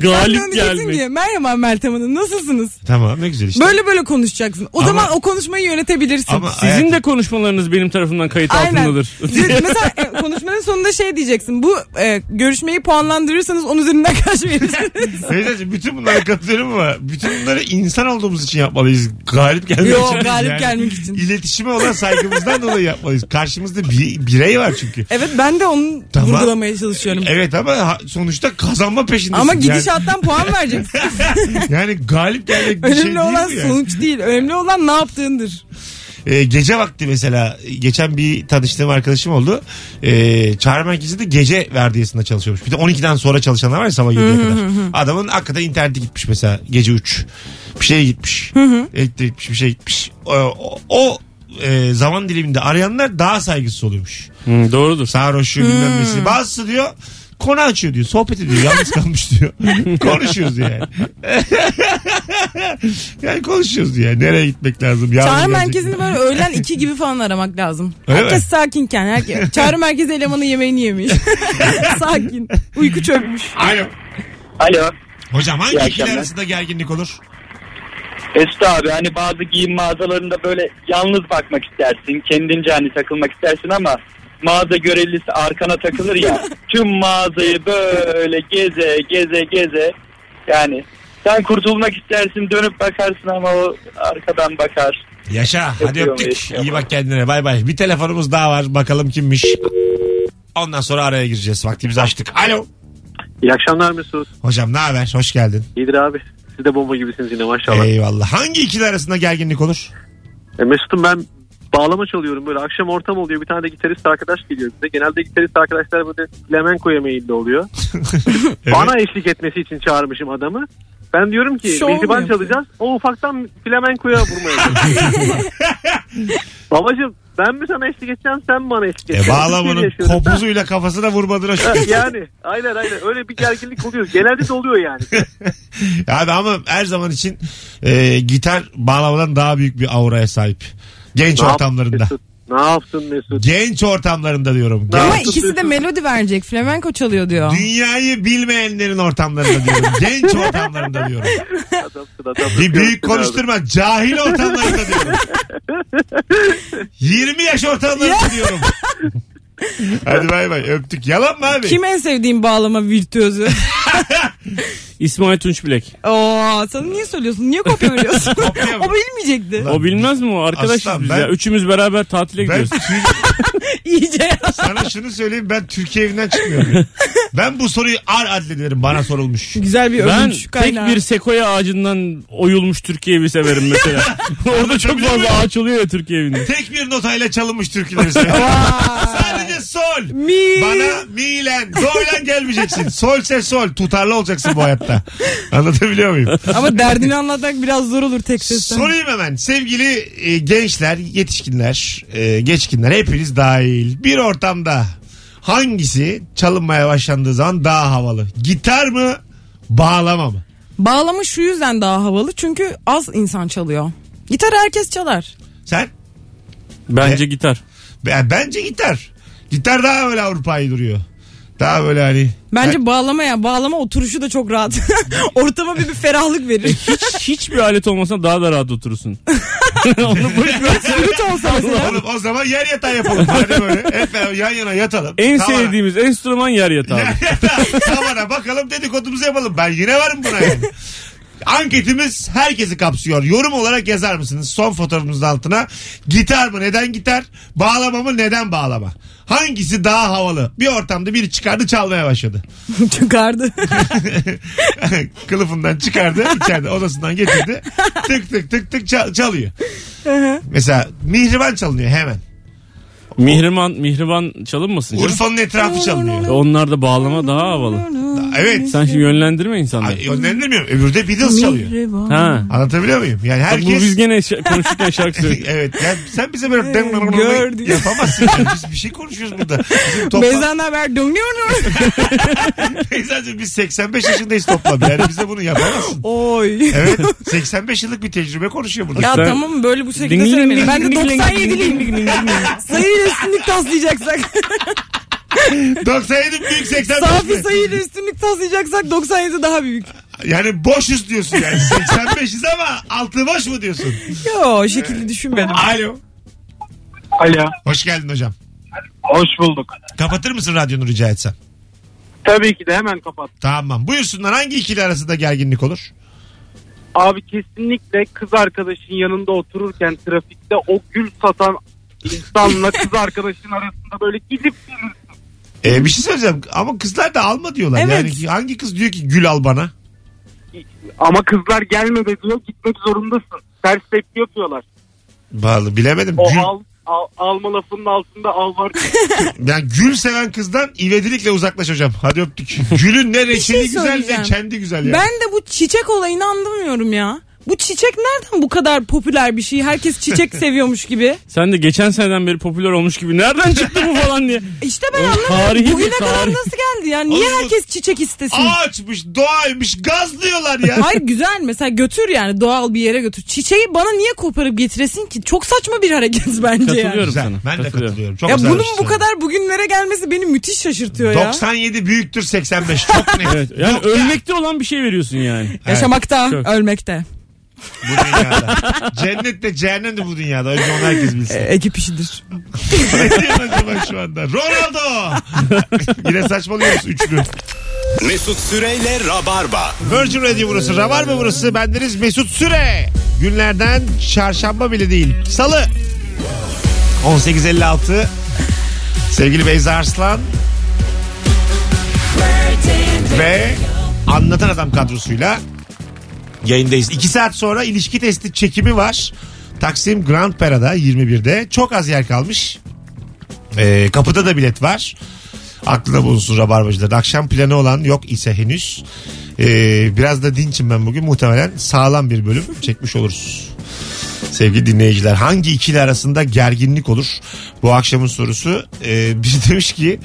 Galip gelmek. gelmek. Diye. Merhaba Meltem Hanım nasılsınız? Tamam ne güzel işte. Böyle böyle konuşacaksın. O zaman o konuşmayı yönetebilirsin. Ama Sizin de konuşmalarınız benim tarafından kayıt altındadır. Siz- mesela e, konuşmanın sonunda şey diyeceksin. Bu e, görüşmeyi puanlandırırsanız onun üzerinden kaç verirsiniz? Beyza'cığım bütün bunlara katılıyorum ama bütün bunları insan olduğumuz için yapmalıyız. Galip gelmek Yo, için. değil galip gelmek için. İletişime olan saygımızdan dolayı yapmalıyız. Karşımızda bir birey var çünkü. evet ben de onu Tamam. vurgulamaya çalışıyorum. Evet ama ha- sonuçta kazanma peşindesin. Ama Yani- gidişattan puan vereceksin. Yani galip gelmek bir Önemli şey değil olan mi yani? sonuç değil. Önemli olan ne yaptığındır. Ee, gece vakti mesela geçen bir tanıştığım arkadaşım oldu. Ee, çağrı merkezinde gece verdiyesinde çalışıyormuş. Bir de 12'den sonra çalışanlar var ya sabah 7'ye kadar. Adamın hakikaten interneti gitmiş mesela gece 3. Bir şeye gitmiş. Elektrik gitmiş bir şey gitmiş. O, o- o, e, zaman diliminde arayanlar daha saygısız oluyormuş. Hı, doğrudur. Sarhoşu bilmem nesi. Bazısı diyor konu açıyor diyor. Sohbet ediyor. Yalnız kalmış diyor. konuşuyoruz yani. yani konuşuyoruz diyor. Nereye gitmek lazım? Yarın Çağrı gelecek merkezini mi? böyle öğlen 2 gibi falan aramak lazım. Öyle herkes mi? sakinken. Herkes, çağrı merkezi elemanı yemeğini yemiş. Sakin. Uyku çökmüş. Alo. Alo. Hocam hangi İyi ikili akşamlar. arasında gerginlik olur? Mesut abi hani bazı giyim mağazalarında böyle yalnız bakmak istersin. Kendince hani takılmak istersin ama mağaza görevlisi arkana takılır ya. tüm mağazayı böyle geze geze geze. Yani sen kurtulmak istersin dönüp bakarsın ama o arkadan bakar. Yaşa. Hadi Yapıyorum, öptük. yapıyorum. İyi bak kendine. Bay bay. Bir telefonumuz daha var. Bakalım kimmiş. Ondan sonra araya gireceğiz. Vaktimizi açtık. Alo. İyi akşamlar Mesut. Hocam ne haber? Hoş geldin. İyidir abi. Siz de bomba gibisiniz yine maşallah. Eyvallah. Hangi ikili arasında gerginlik olur? E, Mesut'um ben bağlama çalıyorum böyle akşam ortam oluyor bir tane de gitarist arkadaş geliyor bize. Genelde gitarist arkadaşlar böyle flamenco'ya meyilli oluyor. Evet. Bana eşlik etmesi için çağırmışım adamı. Ben diyorum ki Şov mu mihriban yapıyor? çalacağız. O ufaktan flamenkoya vurmaya çalışıyor. Babacım ben mi sana eşlik edeceğim sen mi bana eşlik E edeceksin? bağlamanın Biz bir yaşıyoruz. kopuzuyla kafasına vurmadığına şükür. yani aynen aynen öyle bir gerginlik oluyor. Genelde de oluyor yani. Abi ama her zaman için e, gitar bağlamadan daha büyük bir auraya sahip. Genç Ne yap- ortamlarında. Mesut, ne yaptın Mesut? Genç ortamlarında diyorum. Ne Ama yaptın ikisi de Mesut? melodi verecek. Flamenko çalıyor diyor. Dünyayı bilmeyenlerin ortamlarında diyorum. Genç ortamlarında diyorum. Adamsın, Bir adamsın. büyük Görüşürüz abi. konuşturma. Cahil ortamlarında diyorum. 20 yaş ortamlarında diyorum. Hadi bay bay öptük. Yalan mı abi? Kim en sevdiğin bağlama virtüözü? İsmail Tunç Bilek. Oo, sana niye söylüyorsun? Niye kopya veriyorsun? Kopya mı? o bilmeyecekti. Lan, O bilmez mi o? Arkadaşız Aslan, biz ben- ya. Üçümüz beraber tatile Ben gidiyoruz. Tür- İyice sana şunu söyleyeyim ben Türkiye evinden çıkmıyorum. ben bu soruyu ar adlederim bana sorulmuş. Güzel bir Ben övünç tek kaynağı. bir sekoya ağacından oyulmuş Türkiye evi severim mesela. Orada çok fazla ağaç oluyor ya Türkiye evinde. Tek bir notayla çalınmış türküleri söylüyorum. Sadece sol. Mi. Bana milen, doylan gelmeyeceksin. Solse sol. Tutarlı olacaksın bu hayatta. Anlatabiliyor muyum? Ama derdini anlatmak biraz zor olur tek sesten. Sorayım hemen. Sevgili e, gençler, yetişkinler, e, geçkinler hepiniz dahil. Bir ortamda hangisi çalınmaya başlandığı zaman daha havalı? Gitar mı? Bağlama mı? Bağlama şu yüzden daha havalı çünkü az insan çalıyor. Gitarı herkes çalar. Sen? E? Bence gitar. Ben- Bence gitar. Gitar daha böyle Avrupa'yı duruyor. Daha böyle hani. Bence bağlama ya bağlama oturuşu da çok rahat. Ortama bir, bir ferahlık verir. Hiç, hiçbir alet olmasa daha da rahat oturursun. Onu boş ver. Flüt olsa mesela. Oğlum o zaman yer yatağı yapalım. Hadi böyle hep beraber yan yana yatalım. En Tavana- sevdiğimiz enstrüman yer yatağı. Tavana bakalım dedikodumuzu yapalım. Ben yine varım buna yani. Anketimiz herkesi kapsıyor. Yorum olarak yazar mısınız son fotoğrafımızın altına? Gitar mı neden gitar? Bağlama mı neden bağlama? Hangisi daha havalı? Bir ortamda biri çıkardı çalmaya başladı. Çıkardı. Kılıfından çıkardı içeride odasından getirdi. Tık tık tık tık çal- çalıyor. Mesela mihriban çalınıyor hemen. Mihriman, mihriban çalınmasın canım. Urfa'nın etrafı çalınıyor. Onlar da bağlama daha havalı. Evet. Sen şimdi yönlendirme insanları. Ay, yönlendirmiyorum. Öbürde Beatles çalıyor. Ha. Anlatabiliyor muyum? Yani Bu herkes... biz gene şa- konuşurken şarkı söylüyoruz. evet yani sen bize böyle Gör diyor. yapamazsın. Yani. Biz bir şey konuşuyoruz burada. Bizim topla... Beyza'nın haber dönüyor mu? Beyza'cığım biz 85 yaşındayız toplam. Yani bize bunu yapamazsın. Oy. Evet 85 yıllık bir tecrübe konuşuyor burada. Ya Ben- tamam böyle bu şekilde Ding, ding, söylemeyin. ding, Ben de ding, ding, 97'liyim. Sayıyla üstünlük taslayacaksak. 97 büyük 85 Safi mi? sayıyla üstünlük taslayacaksak 97 daha büyük. Yani boşuz diyorsun yani. 85'iz ama altı boş mu diyorsun? Yo o şekilde düşünmedim. Alo. Alo. Hoş geldin hocam. Hoş bulduk. Kapatır mısın radyonu rica etsem? Tabii ki de hemen kapat. Tamam. Buyursunlar hangi ikili arasında gerginlik olur? Abi kesinlikle kız arkadaşın yanında otururken trafikte o gül satan insanla kız arkadaşın arasında böyle gidip gelirsin. Ee, bir şey söyleyeceğim ama kızlar da alma diyorlar. Evet. Yani ki- hangi kız diyor ki gül al bana? Ama kızlar gelme de diyor gitmek zorundasın. Ters tepki yapıyorlar. Vallahi bilemedim. O gül, al, al- alma lafının altında al var. yani gül seven kızdan ivedilikle uzaklaş hocam. Hadi öptük. Gülün ne reçeli güzel ne söyleyeceğim. kendi güzel ya. Ben de bu çiçek olayını anlamıyorum ya. Bu çiçek nereden bu kadar popüler bir şey? Herkes çiçek seviyormuş gibi. Sen de geçen seneden beri popüler olmuş gibi nereden çıktı bu falan diye. İşte ben Oğlum, tarihi anlamadım. bir Bugüne kadar tarih. nasıl geldi? Yani niye Oğlum bu- herkes çiçek istesin? Ağaçmış, doğaymış, gazlıyorlar ya. Hayır güzel mesela götür yani doğal bir yere götür. Çiçeği bana niye koparıp getiresin ki? Çok saçma bir hareket bence yani. Katılıyorum Güzel. sana. Ben de katılıyorum. Çok Ya güzel bunun bir bu şey. kadar bugünlere gelmesi beni müthiş şaşırtıyor ya. 97 büyüktür 85. Çok net. Evet, yani Yok ya, ölmekte olan bir şey veriyorsun yani. Yaşamakta, Çok. ölmekte. bu dünyada. Cennet de cehennem de bu dünyada. Önce onu herkes bilsin. E, ekip işidir. ne diyorsun acaba şu anda? Ronaldo! Yine saçmalıyoruz üçlü. Mesut Süreyle Rabarba. Virgin Radio burası. Rabar mı burası? Bendeniz Mesut Süre. Günlerden çarşamba bile değil. Salı. 18.56. Sevgili Beyza Arslan. Ve Anlatan Adam kadrosuyla yayındayız. 2 saat sonra ilişki testi çekimi var. Taksim Grand Pera'da 21'de. Çok az yer kalmış. Ee, kapıda da bilet var. Aklına bulunsun rabarbacıların. Akşam planı olan yok ise henüz. Ee, biraz da dinçim ben bugün. Muhtemelen sağlam bir bölüm çekmiş oluruz. Sevgili dinleyiciler hangi ikili arasında gerginlik olur? Bu akşamın sorusu Ee, bir demiş ki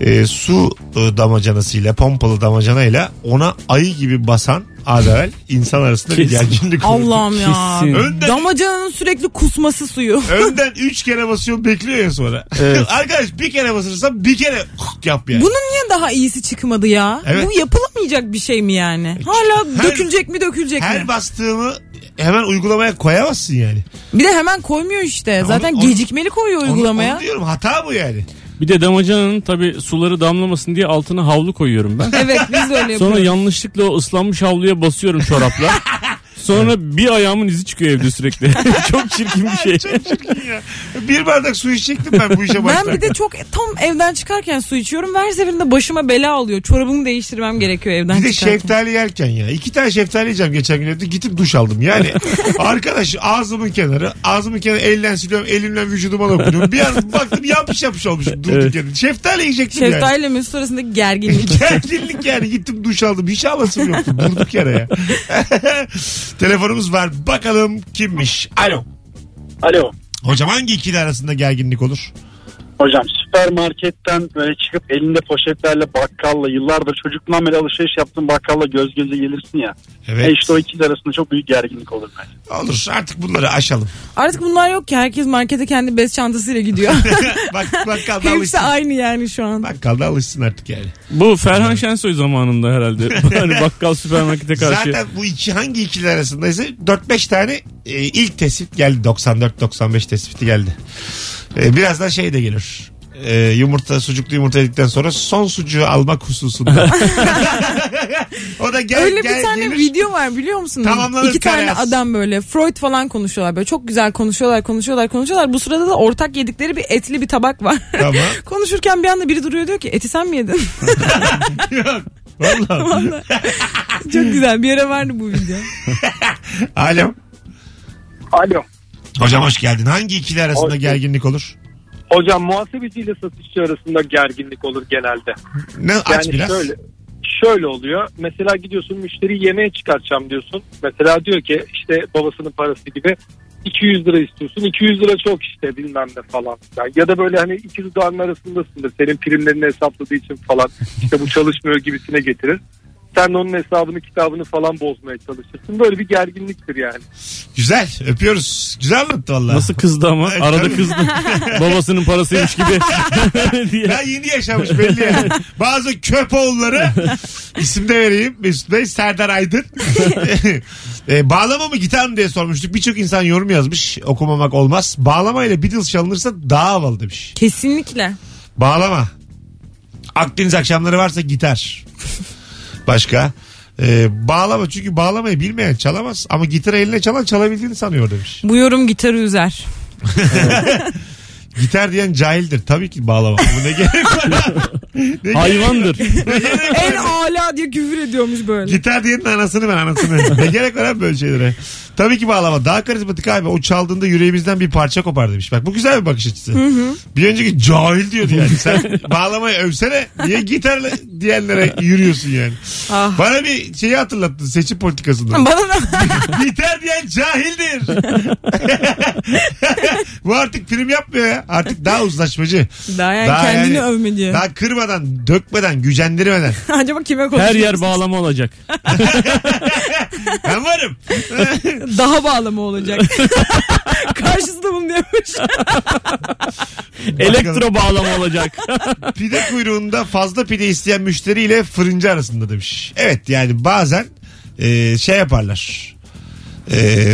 e, su e, damacanasıyla pompalı damacanayla ona ayı gibi basan az evvel insan arasında bir Kesin. gerginlik olur. Allah'ım ya. Kesin. Önden Damacananın sürekli kusması suyu. Önden 3 kere basıyor bekliyor ya sonra. Evet. Arkadaş bir kere basırsa bir kere yap yani. Bunun niye daha iyisi çıkmadı ya? Evet. Bu yapılamayacak bir şey mi yani? Hala Her- dökülecek mi dökülecek Her mi? bastığımı hemen uygulamaya koyamazsın yani. Bir de hemen koymuyor işte. Zaten onu- gecikmeli koyuyor Onu- uygulamaya. Onu, diyorum hata bu yani. Bir de damacanın tabi suları damlamasın diye altına havlu koyuyorum ben. Evet biz de öyle Sonra yapıyoruz. yanlışlıkla o ıslanmış havluya basıyorum çorapla. Sonra bir ayağımın izi çıkıyor evde sürekli. Çok çirkin bir şey. Çok çirkin ya. Bir bardak su içecektim ben bu işe başlarken. Ben bir de çok tam evden çıkarken su içiyorum. ve Her seferinde başıma bela oluyor. Çorabımı değiştirmem gerekiyor evden Bir de çıkarken. şeftali yerken ya. iki tane şeftali yiyeceğim geçen gün evde. Gittim duş aldım. Yani arkadaş ağzımın kenarı. Ağzımın kenarı elden siliyorum. Elimden vücuduma dokunuyorum. Bir an baktım yapış yapış olmuş. Durduk Evet. yere. Şeftali yiyecektim yani. Şeftali ile Mesut arasındaki gerginlik. Gerginlik yani gittim duş aldım hiç havasım yoktu durduk yere ya. Telefonumuz var bakalım kimmiş. Alo. Alo. Hocam hangi ikili arasında gerginlik olur? Hocam süpermarketten böyle çıkıp elinde poşetlerle bakkalla yıllardır çocukluğumdan beri alışveriş yaptığın bakkalla göz göze gelirsin ya. Evet. E işte o ikili arasında çok büyük gerginlik olur bence. Olur artık bunları aşalım. Artık bunlar yok ki. Herkes markete kendi bez çantasıyla gidiyor. Bak bakkalda Hepsi alışsın. aynı yani şu an. Bakkalda alışsın artık yani. Bu Ferhan Şensoy zamanında herhalde. hani bakkal süpermarkete karşı. Zaten bu iki hangi ikili arasındaysa 4-5 tane e, ilk tespit geldi. 94-95 tespiti geldi. E, birazdan şey de gelir. E, yumurta sucuklu yumurta yedikten sonra son sucuğu almak hususunda. o da gel, Öyle gel bir tane gelir. video var biliyor musunuz? Tamamlanır İki tane karas. adam böyle Freud falan konuşuyorlar böyle çok güzel konuşuyorlar konuşuyorlar konuşuyorlar. Bu sırada da ortak yedikleri bir etli bir tabak var. Tamam. Konuşurken bir anda biri duruyor diyor ki eti sen mi yedin? Yok. Vallahi. çok güzel bir yere vardı bu video. Alo. Alo. Hocam hoş geldin. Hangi ikili arasında Hoş gerginlik olur? Hocam muhasebeciyle satışçı arasında gerginlik olur genelde. Ne aç biraz. şöyle şöyle oluyor. Mesela gidiyorsun müşteriyi yemeğe çıkartacağım diyorsun. Mesela diyor ki işte babasının parası gibi 200 lira istiyorsun. 200 lira çok işte bilmem ne falan. filan. ya da böyle hani iki dudağın arasındasındır. Senin primlerini hesapladığı için falan. İşte bu çalışmıyor gibisine getirir. Sen de onun hesabını kitabını falan bozmaya çalışırsın. Böyle bir gerginliktir yani. Güzel. Öpüyoruz. Güzel anlattı valla. Nasıl kızdı ama Evet, arada tabii. kızdı. Babasının parasıymış gibi. diye. Daha yeni yaşamış belli yani. Bazı köpoğulları isim de vereyim Mesut Bey Serdar Aydın. e, bağlama mı gitar mı diye sormuştuk. Birçok insan yorum yazmış. Okumamak olmaz. Bağlama ile Beatles çalınırsa daha havalı demiş. Kesinlikle. Bağlama. Akdeniz akşamları varsa gitar. Başka. E, bağlama çünkü bağlamayı bilmeyen çalamaz ama gitarı eline çalan çalabildiğini sanıyor demiş. Bu yorum gitarı üzer. Gitar diyen cahildir. Tabii ki bağlama. Bu ne gerek var? Ne Hayvandır. en ala diye küfür ediyormuş böyle. Gitar diyenin anasını ben anasını. ne gerek var abi böyle şeylere. Tabii ki bağlama. Daha karizmatik abi. O çaldığında yüreğimizden bir parça kopar demiş. Bak bu güzel bir bakış açısı. Bir önceki cahil diyordu yani. Sen bağlamayı övsene. Niye gitarla diyenlere yürüyorsun yani? Ah. Bana bir şeyi hatırlattın seçim politikasından. Bana da Gitar diyen cahildir. bu artık prim yapmıyor ya. Artık daha uzlaşmacı. daha yani Daha kendini yani- övme diye. Daha kırmadan, dökmeden, gücendirmeden. Acaba kime konuşuyor? Her yer bağlama olacak. Ben varım. Daha bağlama olacak. Karşısında bunu diyormuş. Elektro bağlama olacak. Pide kuyruğunda fazla pide isteyen müşteriyle fırıncı arasında demiş. Evet yani bazen e, şey yaparlar. E,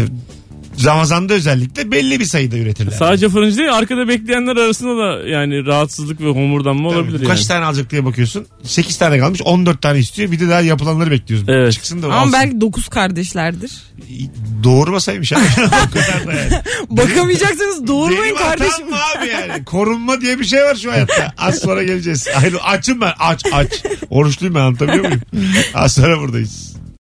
Ramazan'da özellikle belli bir sayıda üretirler. Sadece fırıncı değil arkada bekleyenler arasında da yani rahatsızlık ve homurdanma Tabii, olabilir bu Kaç yani. tane alacak diye bakıyorsun. 8 tane kalmış 14 tane istiyor. Bir de daha yapılanları bekliyoruz. Evet. Çıksın da alsın. Ama belki dokuz kardeşlerdir. Doğurmasaymış abi. o kadar da yani. Bakamayacaksınız doğurmayın Benim hatam kardeşim. mı abi yani? Korunma diye bir şey var şu hayatta. Az sonra geleceğiz. Ayrı, açım ben. Aç aç. Oruçluyum ben anlatabiliyor muyum? Az sonra buradayız.